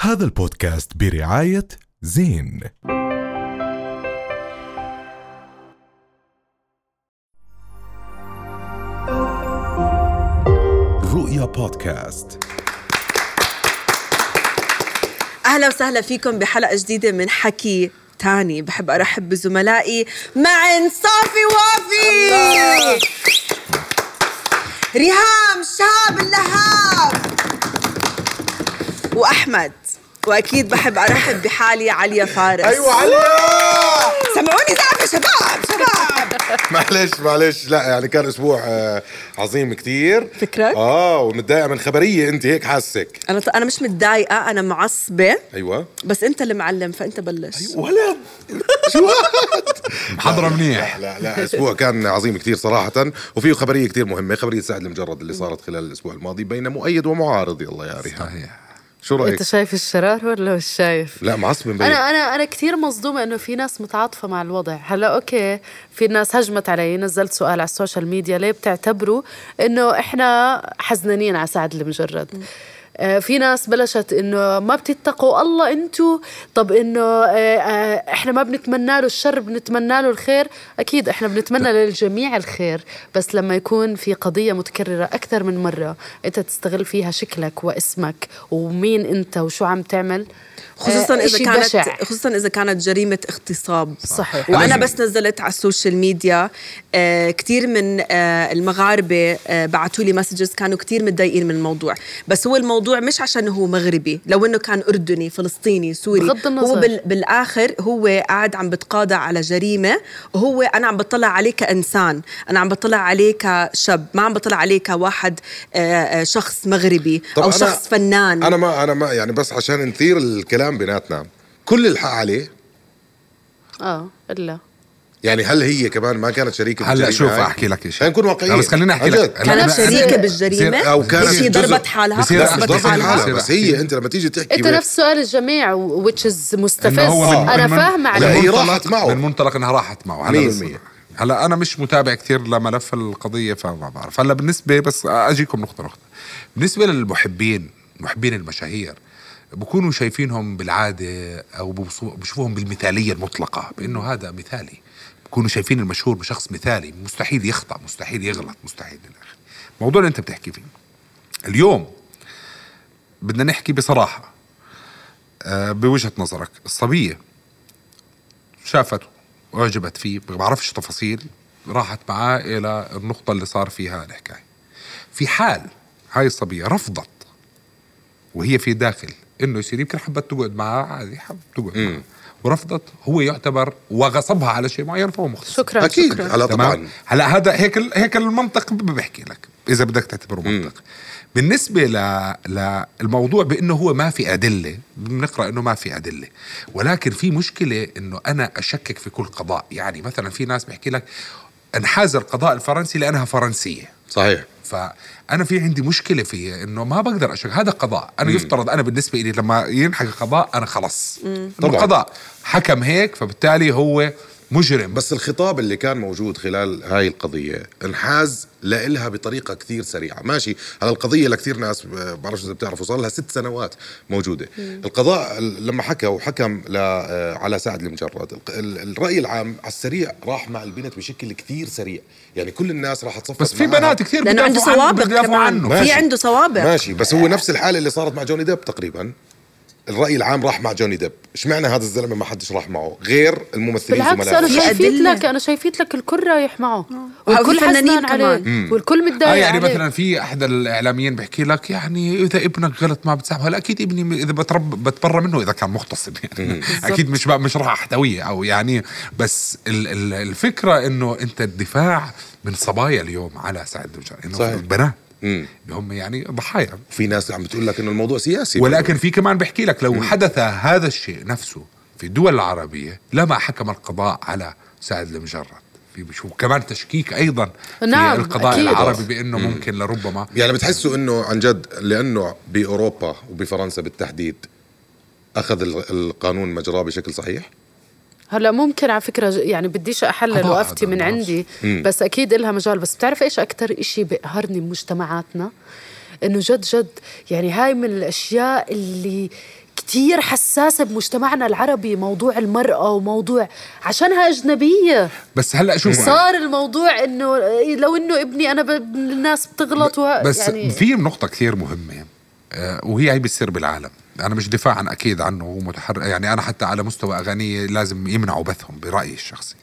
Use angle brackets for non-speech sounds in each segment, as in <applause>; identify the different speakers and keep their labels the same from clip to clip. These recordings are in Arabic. Speaker 1: هذا البودكاست برعاية زين رؤيا بودكاست
Speaker 2: اهلا وسهلا فيكم بحلقه جديده من حكي تاني بحب ارحب بزملائي معن صافي وافي ريهام شهاب اللهاب واحمد واكيد بحب ارحب بحالي عليا فارس
Speaker 3: ايوه علي
Speaker 2: سمعوني زعفه شباب شباب
Speaker 3: معلش معلش لا يعني كان اسبوع آه، عظيم كتير
Speaker 2: فكرك؟
Speaker 3: اه ومتضايقه من خبريه انت هيك حاسك
Speaker 2: انا انا مش متضايقه انا معصبه
Speaker 3: ايوه
Speaker 2: بس انت اللي معلم فانت بلش
Speaker 3: ولد شو
Speaker 4: محضرة منيح
Speaker 3: لا لا اسبوع كان عظيم كتير صراحه وفيه خبريه كتير مهمه خبريه سعد المجرد اللي صارت خلال الاسبوع الماضي بين مؤيد ومعارض يلا يا ريهام
Speaker 4: صحيح
Speaker 3: شو رايك
Speaker 5: انت شايف الشرار ولا مش شايف؟
Speaker 3: لا معصب مبين
Speaker 5: انا انا انا كثير مصدومه انه في ناس متعاطفه مع الوضع، هلا اوكي في ناس هجمت علي، نزلت سؤال على السوشيال ميديا ليه بتعتبروا انه احنا حزنانين على سعد المجرد؟ آه، في ناس بلشت انه ما بتتقوا الله انتو طب انه آه، آه، احنا ما بنتمنى له الشر بنتمنى له الخير اكيد احنا بنتمنى للجميع الخير بس لما يكون في قضيه متكرره اكثر من مره انت تستغل فيها شكلك واسمك ومين انت وشو عم تعمل
Speaker 2: خصوصا
Speaker 5: آه،
Speaker 2: اذا
Speaker 5: إشي
Speaker 2: كانت
Speaker 5: بشع.
Speaker 2: خصوصا اذا كانت جريمه اغتصاب
Speaker 5: صحيح.
Speaker 2: وانا
Speaker 4: لازم.
Speaker 2: بس نزلت على السوشيال ميديا آه كثير من آه المغاربه آه بعثوا لي مسجز كانوا كثير متضايقين من الموضوع بس هو الموضوع مش عشان هو مغربي لو انه كان اردني فلسطيني سوري
Speaker 5: بغض النظر.
Speaker 2: هو بال بالاخر هو قاعد عم بتقاضى على جريمه وهو انا عم بطلع عليه كانسان انا عم بطلع عليه كشاب ما عم بطلع عليه كواحد آه آه شخص مغربي
Speaker 3: طب
Speaker 2: او
Speaker 3: أنا-
Speaker 2: شخص فنان
Speaker 3: انا ما انا ما يعني بس عشان نثير الكلام بيناتنا كل الحق عليه
Speaker 5: اه الا
Speaker 3: يعني هل هي كمان ما كانت شريكه
Speaker 4: هلا
Speaker 3: بالجريمة
Speaker 4: شوف
Speaker 3: هاي؟
Speaker 4: احكي لك شيء
Speaker 3: خلينا نكون واقعيين
Speaker 4: لا بس خليني احكي
Speaker 3: عن
Speaker 4: لك
Speaker 3: جد.
Speaker 4: أنا-
Speaker 2: كانت
Speaker 4: أنا-
Speaker 2: شريكة
Speaker 4: بصير-
Speaker 2: بالجريمة؟
Speaker 3: أو كانت
Speaker 2: بصير
Speaker 3: جزء-
Speaker 2: ضربت حالها؟
Speaker 4: بصير
Speaker 2: لا،
Speaker 3: بس
Speaker 2: ضربت
Speaker 4: ضربت
Speaker 3: ضربت
Speaker 2: حالها.
Speaker 3: الحالة
Speaker 4: حالها
Speaker 3: بس هي انت لما تيجي تحكي
Speaker 5: انت
Speaker 3: وهيك-
Speaker 5: نفس سؤال الجميع وتشز مستفز
Speaker 4: إنه هو من-
Speaker 5: انا
Speaker 4: من-
Speaker 5: فاهمه
Speaker 3: لا،
Speaker 5: عليك
Speaker 3: هي
Speaker 4: من منطلق-
Speaker 3: راحت معه.
Speaker 4: من منطلق انها راحت معه
Speaker 3: مية
Speaker 4: هلا بس-
Speaker 3: بالمية.
Speaker 4: هلا انا مش متابع كثير لملف القضيه فما بعرف هلا بالنسبه بس اجيكم نقطه نقطه بالنسبه للمحبين محبين المشاهير بكونوا شايفينهم بالعاده او بوصو- بشوفوهم بالمثاليه المطلقه بانه هذا مثالي بكونوا شايفين المشهور بشخص مثالي مستحيل يخطا مستحيل يغلط مستحيل الى اخره الموضوع اللي انت بتحكي فيه اليوم بدنا نحكي بصراحه آه، بوجهه نظرك الصبيه شافته واعجبت فيه ما بعرفش تفاصيل راحت معاه الى النقطه اللي صار فيها الحكايه في حال هاي الصبيه رفضت وهي في داخل انه يصير يمكن حبت تقعد معاه عادي حبت تقعد معاه ورفضت هو يعتبر وغصبها على شيء معين فهو مختص
Speaker 5: شكرا
Speaker 3: اكيد
Speaker 5: شكرا
Speaker 3: هلا
Speaker 4: تمام
Speaker 3: طبعا
Speaker 4: هلا هذا هيك ال- هيك المنطق ب- بحكي لك اذا بدك تعتبره منطق بالنسبه ل للموضوع بانه هو ما في ادله بنقرا انه ما في ادله ولكن في مشكله انه انا اشكك في كل قضاء يعني مثلا في ناس بحكي لك انحاز القضاء الفرنسي لانها فرنسيه
Speaker 3: صحيح
Speaker 4: فانا في عندي مشكله في انه ما بقدر اشك هذا قضاء انا يفترض انا بالنسبه لي لما ينحكى قضاء انا خلص
Speaker 3: طبعاً.
Speaker 4: طبعا قضاء حكم هيك فبالتالي هو مجرم
Speaker 3: بس الخطاب اللي كان موجود خلال هاي القضية انحاز لإلها بطريقة كثير سريعة ماشي هلا القضية لكثير ناس آه، بعرفش إذا بتعرفوا صار لها ست سنوات موجودة القضاء ال- لما حكى وحكم ل- آه، على سعد المجرد الق- ال- الرأي العام على السريع راح مع البنت بشكل كثير سريع يعني كل الناس راح تصفق
Speaker 4: بس في
Speaker 3: معاها.
Speaker 4: بنات كثير
Speaker 2: لأنه عنده
Speaker 4: بدافعوا عنه-
Speaker 2: سوابق
Speaker 4: بدافعوا
Speaker 2: كمان.
Speaker 4: عنه
Speaker 2: في
Speaker 3: ماشي.
Speaker 2: عنده صوابع.
Speaker 5: نعم.
Speaker 3: ماشي بس هو نفس الحاله اللي صارت مع جوني ديب تقريبا الراي العام راح مع جوني ديب اشمعنى هذا الزلمه ما حدش راح معه غير الممثلين
Speaker 5: بالعكس
Speaker 3: زملائه.
Speaker 5: انا
Speaker 2: في
Speaker 5: شايفيت
Speaker 2: أدلة.
Speaker 5: لك انا شايفيت لك الكل رايح معه
Speaker 2: وفي
Speaker 5: والكل
Speaker 2: فنانين
Speaker 5: حزنان عليه
Speaker 2: كمان.
Speaker 5: والكل
Speaker 4: آه
Speaker 5: متضايق
Speaker 4: يعني
Speaker 5: عليه.
Speaker 4: مثلا في احد الاعلاميين بحكي لك يعني اذا ابنك غلط ما بتسامحه هلا اكيد ابني م- اذا بترب بتبرى منه اذا كان مغتصب يعني اكيد مش بقى- مش راح احتويه او يعني بس ال- ال- الفكره انه انت الدفاع من صبايا اليوم على سعد الدجار انه
Speaker 3: صحيح.
Speaker 4: البنات
Speaker 3: مم.
Speaker 4: هم يعني ضحايا
Speaker 3: في ناس عم بتقول لك انه الموضوع سياسي
Speaker 4: ولكن في كمان بحكي لك لو حدث هذا الشيء نفسه في الدول العربية لما حكم القضاء على سعد المجرد في شو كمان تشكيك ايضا في
Speaker 5: نعم،
Speaker 4: القضاء
Speaker 5: أكيد.
Speaker 4: العربي بانه ممكن لربما
Speaker 3: يعني بتحسوا انه عن جد لانه باوروبا وبفرنسا بالتحديد اخذ ال- القانون مجراه بشكل صحيح
Speaker 5: هلا ممكن على فكره ج- يعني بديش احلل
Speaker 4: قضاء
Speaker 5: وافتي
Speaker 4: هذا،
Speaker 5: من
Speaker 4: ما
Speaker 5: عندي بس اكيد إلها مجال بس بتعرف ايش اكثر إشي بقهرني بمجتمعاتنا انه جد جد يعني هاي من الاشياء اللي كتير حساسة بمجتمعنا العربي موضوع المرأة وموضوع عشانها أجنبية
Speaker 4: بس هلا شوف
Speaker 5: صار الموضوع انه لو انه ابني انا ب... الناس بتغلط و...
Speaker 4: بس
Speaker 5: يعني
Speaker 4: في نقطة كثير مهمة آه، وهي هي بتصير بالعالم أنا مش دفاعا أكيد عنه ومتحر يعني أنا حتى على مستوى أغانية لازم يمنعوا بثهم برأيي الشخصي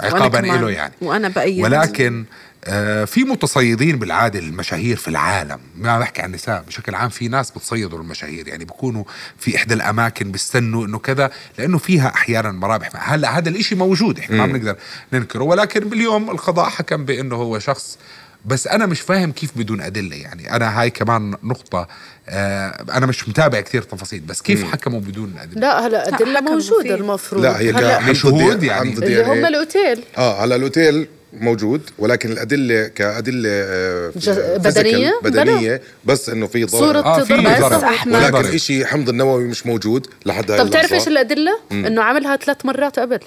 Speaker 4: عقابا
Speaker 2: كمان.
Speaker 4: له يعني
Speaker 2: وأنا بأيد.
Speaker 4: ولكن آه، في متصيدين بالعاده المشاهير في العالم ما بحكي عن النساء بشكل عام في ناس بتصيدوا المشاهير يعني بيكونوا في احدى الاماكن بيستنوا انه كذا لانه فيها احيانا مرابح هلا هذا الاشي موجود احنا ما بنقدر ننكره ولكن باليوم القضاء حكم بانه هو شخص بس انا مش فاهم كيف بدون ادله يعني انا هاي كمان نقطه آه انا مش متابع كثير تفاصيل بس كيف حكموا بدون ادله
Speaker 5: لا هلا ادله
Speaker 2: لا، حكم
Speaker 5: موجوده
Speaker 2: فيه.
Speaker 5: المفروض
Speaker 3: لا هي
Speaker 5: هلا
Speaker 3: عن
Speaker 4: مشهود
Speaker 3: ضد-
Speaker 4: يعني.
Speaker 3: عن ضد
Speaker 5: اللي هم
Speaker 3: DNA.
Speaker 5: الاوتيل
Speaker 3: اه إيه. هلا الاوتيل موجود ولكن الادله كادله آه،
Speaker 5: جز-
Speaker 3: physical،
Speaker 5: بدنية؟
Speaker 3: بدنيه بس انه في
Speaker 5: صوره
Speaker 3: ضرر
Speaker 4: آه، في
Speaker 5: ضرب
Speaker 2: ضرب.
Speaker 5: بس احمد
Speaker 2: أحمد.
Speaker 3: ولكن شيء حمض النووي مش موجود لحد هاي
Speaker 5: طب تعرف
Speaker 3: اللحظة.
Speaker 5: ايش الادله؟ انه عملها ثلاث مرات قبل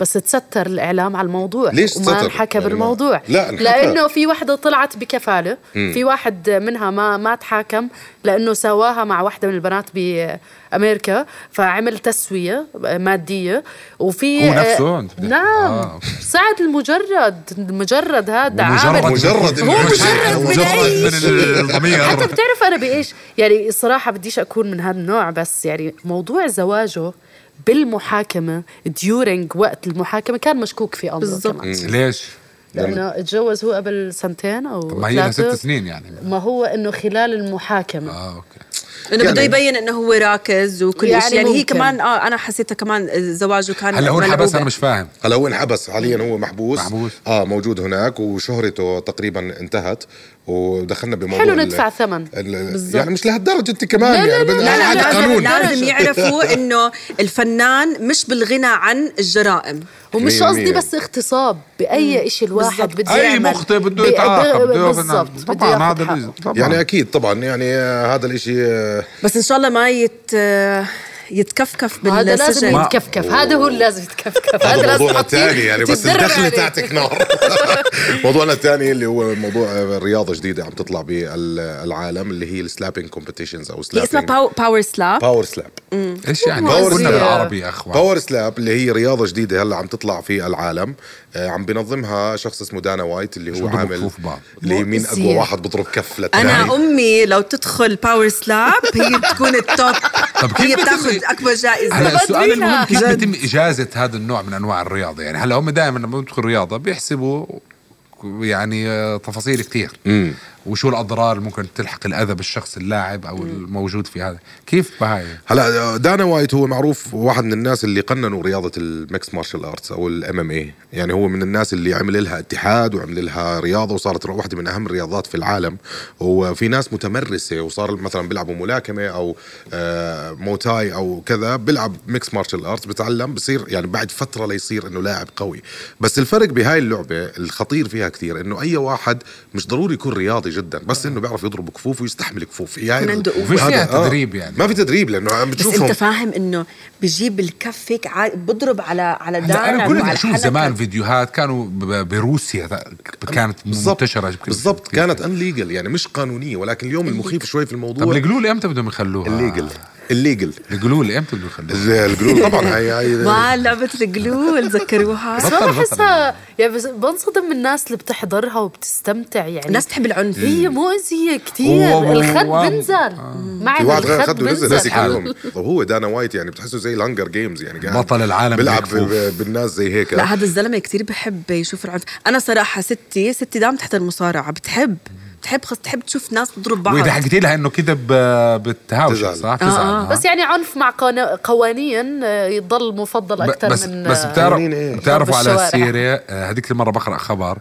Speaker 5: بس تستر الاعلام على الموضوع
Speaker 3: ليش
Speaker 5: وما
Speaker 3: تستر؟
Speaker 5: انحكى
Speaker 3: يعني ما-
Speaker 5: بالموضوع
Speaker 3: لا، انحكى.
Speaker 5: لانه في وحده طلعت بكفاله في واحد منها ما ما تحاكم لانه سواها مع وحده من البنات بامريكا فعمل تسويه ماديه وفي
Speaker 4: هو نفسه؟
Speaker 5: آه،
Speaker 4: أنت بدك-
Speaker 5: نعم
Speaker 4: آه، أوكي.
Speaker 5: سعد المجرد المجرد هذا
Speaker 4: ومجرد-
Speaker 5: عامل
Speaker 3: مجرد
Speaker 5: هو
Speaker 4: <laughs>
Speaker 5: مجرد من أي
Speaker 4: من الضمير
Speaker 5: حتى بتعرف انا بايش يعني صراحه بديش اكون من هالنوع بس يعني موضوع زواجه بالمحاكمه ديورينج وقت المحاكمه كان مشكوك في امره
Speaker 2: بالضبط.
Speaker 5: كمان
Speaker 4: ليش؟
Speaker 5: لانه اتجوز هو قبل سنتين او
Speaker 4: طب ما هي لها ست
Speaker 5: ثلاثة.
Speaker 4: سنين يعني
Speaker 5: ما هو انه خلال المحاكمه
Speaker 4: اه اوكي
Speaker 2: انه
Speaker 3: يعني-
Speaker 2: بده يبين انه هو راكز وكل
Speaker 5: يعني
Speaker 2: يعني, يعني هي
Speaker 5: ممكن.
Speaker 2: كمان اه انا حسيتها كمان زواجه كان
Speaker 4: هلا هو انحبس
Speaker 2: ملعوبة.
Speaker 4: انا مش فاهم
Speaker 3: هلا هو انحبس حاليا هو محبوس
Speaker 4: محبوس.
Speaker 3: اه موجود هناك وشهرته تقريبا انتهت ودخلنا بموضوع
Speaker 5: حلو
Speaker 3: ال-
Speaker 5: ندفع ثمن
Speaker 3: ال-
Speaker 5: بالظبط.
Speaker 3: يعني مش لهالدرجه انت كمان
Speaker 5: لا، لا،
Speaker 3: يعني
Speaker 5: لا،
Speaker 3: بدنا-
Speaker 2: لا لا
Speaker 3: هذا
Speaker 2: لازم
Speaker 3: قانون
Speaker 2: لازم يعرفوا انه الفنان مش بالغنى عن الجرائم
Speaker 5: ومش
Speaker 3: مية
Speaker 5: قصدي
Speaker 3: مية.
Speaker 5: بس اغتصاب باي شيء الواحد بده
Speaker 4: اي
Speaker 5: يعمل.
Speaker 4: مخطئ بده
Speaker 5: ب-
Speaker 4: يتعاقب بده ياخذ
Speaker 5: بالضبط
Speaker 4: نعم.
Speaker 5: بده
Speaker 4: طبعا
Speaker 5: ياخذ
Speaker 4: هذا
Speaker 5: حقه.
Speaker 4: الإز- طبعا
Speaker 3: يعني اكيد طبعا يعني آه، هذا الاشي آه،
Speaker 2: بس ان شاء الله ما يت يتكفكف
Speaker 5: هذا
Speaker 2: بالسجن
Speaker 5: لازم يتكفكف هذا هو اللي لازم يتكفكف هذا
Speaker 3: هذا
Speaker 5: لازم
Speaker 3: موضوعنا
Speaker 5: تحطيه
Speaker 3: الثاني يعني بس
Speaker 5: تتدرب
Speaker 3: الدخله
Speaker 5: عليه.
Speaker 3: تاعتك نار <laughs> موضوعنا الثاني اللي هو موضوع رياضه جديده عم تطلع بالعالم اللي هي السلابينج كومبيتيشنز او
Speaker 2: هي
Speaker 4: طيب.
Speaker 2: اسمها
Speaker 3: سلابينج
Speaker 2: باو باور سلاب
Speaker 3: باور سلاب
Speaker 4: ايش يعني
Speaker 5: باور
Speaker 4: قلنا
Speaker 5: سلاب.
Speaker 4: بالعربي يا اخوان
Speaker 3: باور سلاب اللي هي رياضه جديده هلا عم تطلع في العالم آه، عم بينظمها شخص اسمه دانا وايت اللي هو
Speaker 4: بضرب
Speaker 3: عامل
Speaker 4: كفوف بعض.
Speaker 3: اللي هي مين
Speaker 5: مؤذية.
Speaker 3: اقوى واحد بضرب كف
Speaker 2: انا
Speaker 4: يعني-
Speaker 3: للثاني
Speaker 2: امي لو تدخل باور سلاب هي بتكون التوب
Speaker 4: طب كيف
Speaker 2: هي
Speaker 4: بتم-
Speaker 2: بتاخذ اكبر جائزه
Speaker 4: هلا السؤال
Speaker 5: فينا.
Speaker 4: المهم كيف
Speaker 2: جد.
Speaker 4: بيتم اجازه هذا النوع من انواع الرياضه يعني هلا هم دائما لما بيدخلوا رياضه بيحسبوا يعني آه، تفاصيل كثير وشو الاضرار اللي ممكن تلحق الاذى بالشخص اللاعب او الموجود في هذا كيف بهاي
Speaker 3: هلا دانا وايت هو معروف واحد من الناس اللي قننوا رياضه الميكس مارشال ارتس او الام ام اي يعني هو من الناس اللي عمل لها اتحاد وعمل لها رياضه وصارت واحده من اهم الرياضات في العالم وفي ناس متمرسه وصار مثلا بيلعبوا ملاكمه او آه، موتاي او كذا بيلعب ميكس مارشال ارتس بتعلم بصير يعني بعد فتره ليصير انه لاعب قوي بس الفرق بهاي اللعبه الخطير فيها كثير انه اي واحد مش ضروري يكون رياضي جدا بس انه بيعرف يضرب كفوف ويستحمل كفوف هي هاي
Speaker 2: عنده قوة.
Speaker 4: وفيش فيها
Speaker 3: هذا- آه.
Speaker 4: تدريب يعني.
Speaker 3: ما في تدريب لانه عم
Speaker 2: بس
Speaker 3: بتشوفهم
Speaker 2: انت فاهم انه بجيب الكف هيك عا- بضرب على على
Speaker 4: هلا
Speaker 2: دارك
Speaker 4: انا كنت اشوف زمان
Speaker 2: في
Speaker 4: فيديوهات كانوا ب- بروسيا كانت منتشره
Speaker 3: بالضبط كانت ان ليجل يعني مش قانونيه ولكن اليوم المخيف شوي في
Speaker 4: طب
Speaker 3: الموضوع آه،
Speaker 4: القلول امتى بدهم يخلوها؟
Speaker 3: الليجل الليجل
Speaker 4: القلول امتى بدهم
Speaker 3: <laughs>
Speaker 4: يخلوها؟
Speaker 3: القلوب طبعا هي هي
Speaker 2: ما لعبة القلول
Speaker 4: <laughs>
Speaker 2: ذكروها
Speaker 5: بس ما
Speaker 4: بطل- بطل.
Speaker 5: بحسها يعني بس بنصدم من الناس اللي بتحضرها وبتستمتع يعني
Speaker 2: الناس تحب العنف
Speaker 5: هي
Speaker 4: إيه.
Speaker 5: مؤذية كتير
Speaker 4: واو،
Speaker 5: الخد
Speaker 4: واو. آه.
Speaker 5: بنزل مع
Speaker 3: في
Speaker 5: إنه
Speaker 3: واحد غير
Speaker 5: الخد
Speaker 3: خده نزل
Speaker 5: بنزل
Speaker 3: هسه اليوم طب هو دانا وايت يعني بتحسه زي الهنجر جيمز يعني قاعد
Speaker 4: بطل العالم
Speaker 3: بيلعب
Speaker 4: بالكفوف.
Speaker 3: ب- بالناس زي هيك
Speaker 2: لا هذا الزلمه كتير بحب يشوف العنف انا صراحه ستي ستي دائما تحضر مصارعه بتحب بتحب خص تحب تشوف ناس تضرب بعض
Speaker 4: وإذا حكيتي لها انه كذا ب- بالتهاوش
Speaker 3: تزعل.
Speaker 4: صح؟
Speaker 2: آه.
Speaker 4: تزعل
Speaker 5: بس يعني عنف مع قوان- قوانين آه، يضل مفضل
Speaker 4: ب-
Speaker 5: أكثر
Speaker 4: بس
Speaker 5: من
Speaker 4: بس
Speaker 5: آه،
Speaker 4: بتعرف
Speaker 3: قوانين إيه؟
Speaker 4: بتعرفوا
Speaker 5: ضرب
Speaker 4: على
Speaker 5: الشوارع.
Speaker 4: السيره آه، هذيك المره بقرا خبر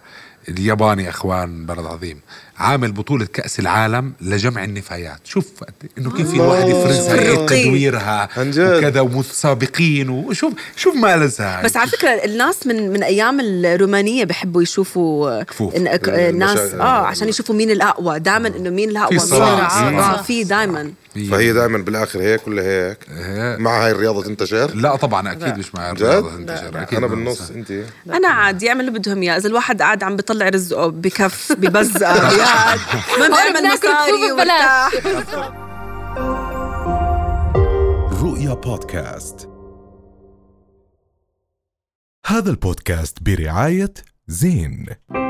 Speaker 4: الياباني يا اخوان بلد عظيم عامل بطولة كأس العالم لجمع النفايات شوف قد- انه كيف الواحد يفرزها
Speaker 2: فرقين.
Speaker 4: إيه تدويرها
Speaker 3: عن جد.
Speaker 4: وكذا ومتسابقين وشوف شوف ما لزها
Speaker 2: بس على فكره الناس من من ايام الرومانيه بيحبوا يشوفوا
Speaker 4: كفوف. آه.
Speaker 2: إن أك-
Speaker 3: المشا-
Speaker 2: الناس اه عشان يشوفوا مين الاقوى دائما انه مين الاقوى
Speaker 4: في صراع، آه.
Speaker 2: مين
Speaker 5: صراع.
Speaker 2: اه في دائما
Speaker 3: فهي دائما بالاخر هيك ولا هيك مع هاي الرياضه تنتشر
Speaker 4: لا طبعا اكيد مش مع
Speaker 3: جد؟
Speaker 4: الرياضة انتشر أكيد
Speaker 3: انا
Speaker 4: ما
Speaker 3: بالنص
Speaker 4: لزها.
Speaker 3: انت
Speaker 2: انا عادي يعمل اللي بدهم اياه اذا الواحد قاعد عم بيطلع رزقه بكف ببزقه بيعد ما
Speaker 5: هون
Speaker 2: بيعمل
Speaker 5: بناكل كفوف
Speaker 2: مصاري
Speaker 5: ببلاش.
Speaker 2: وارتاح
Speaker 1: الرؤيا بودكاست. هذا البودكاست برعاية زين.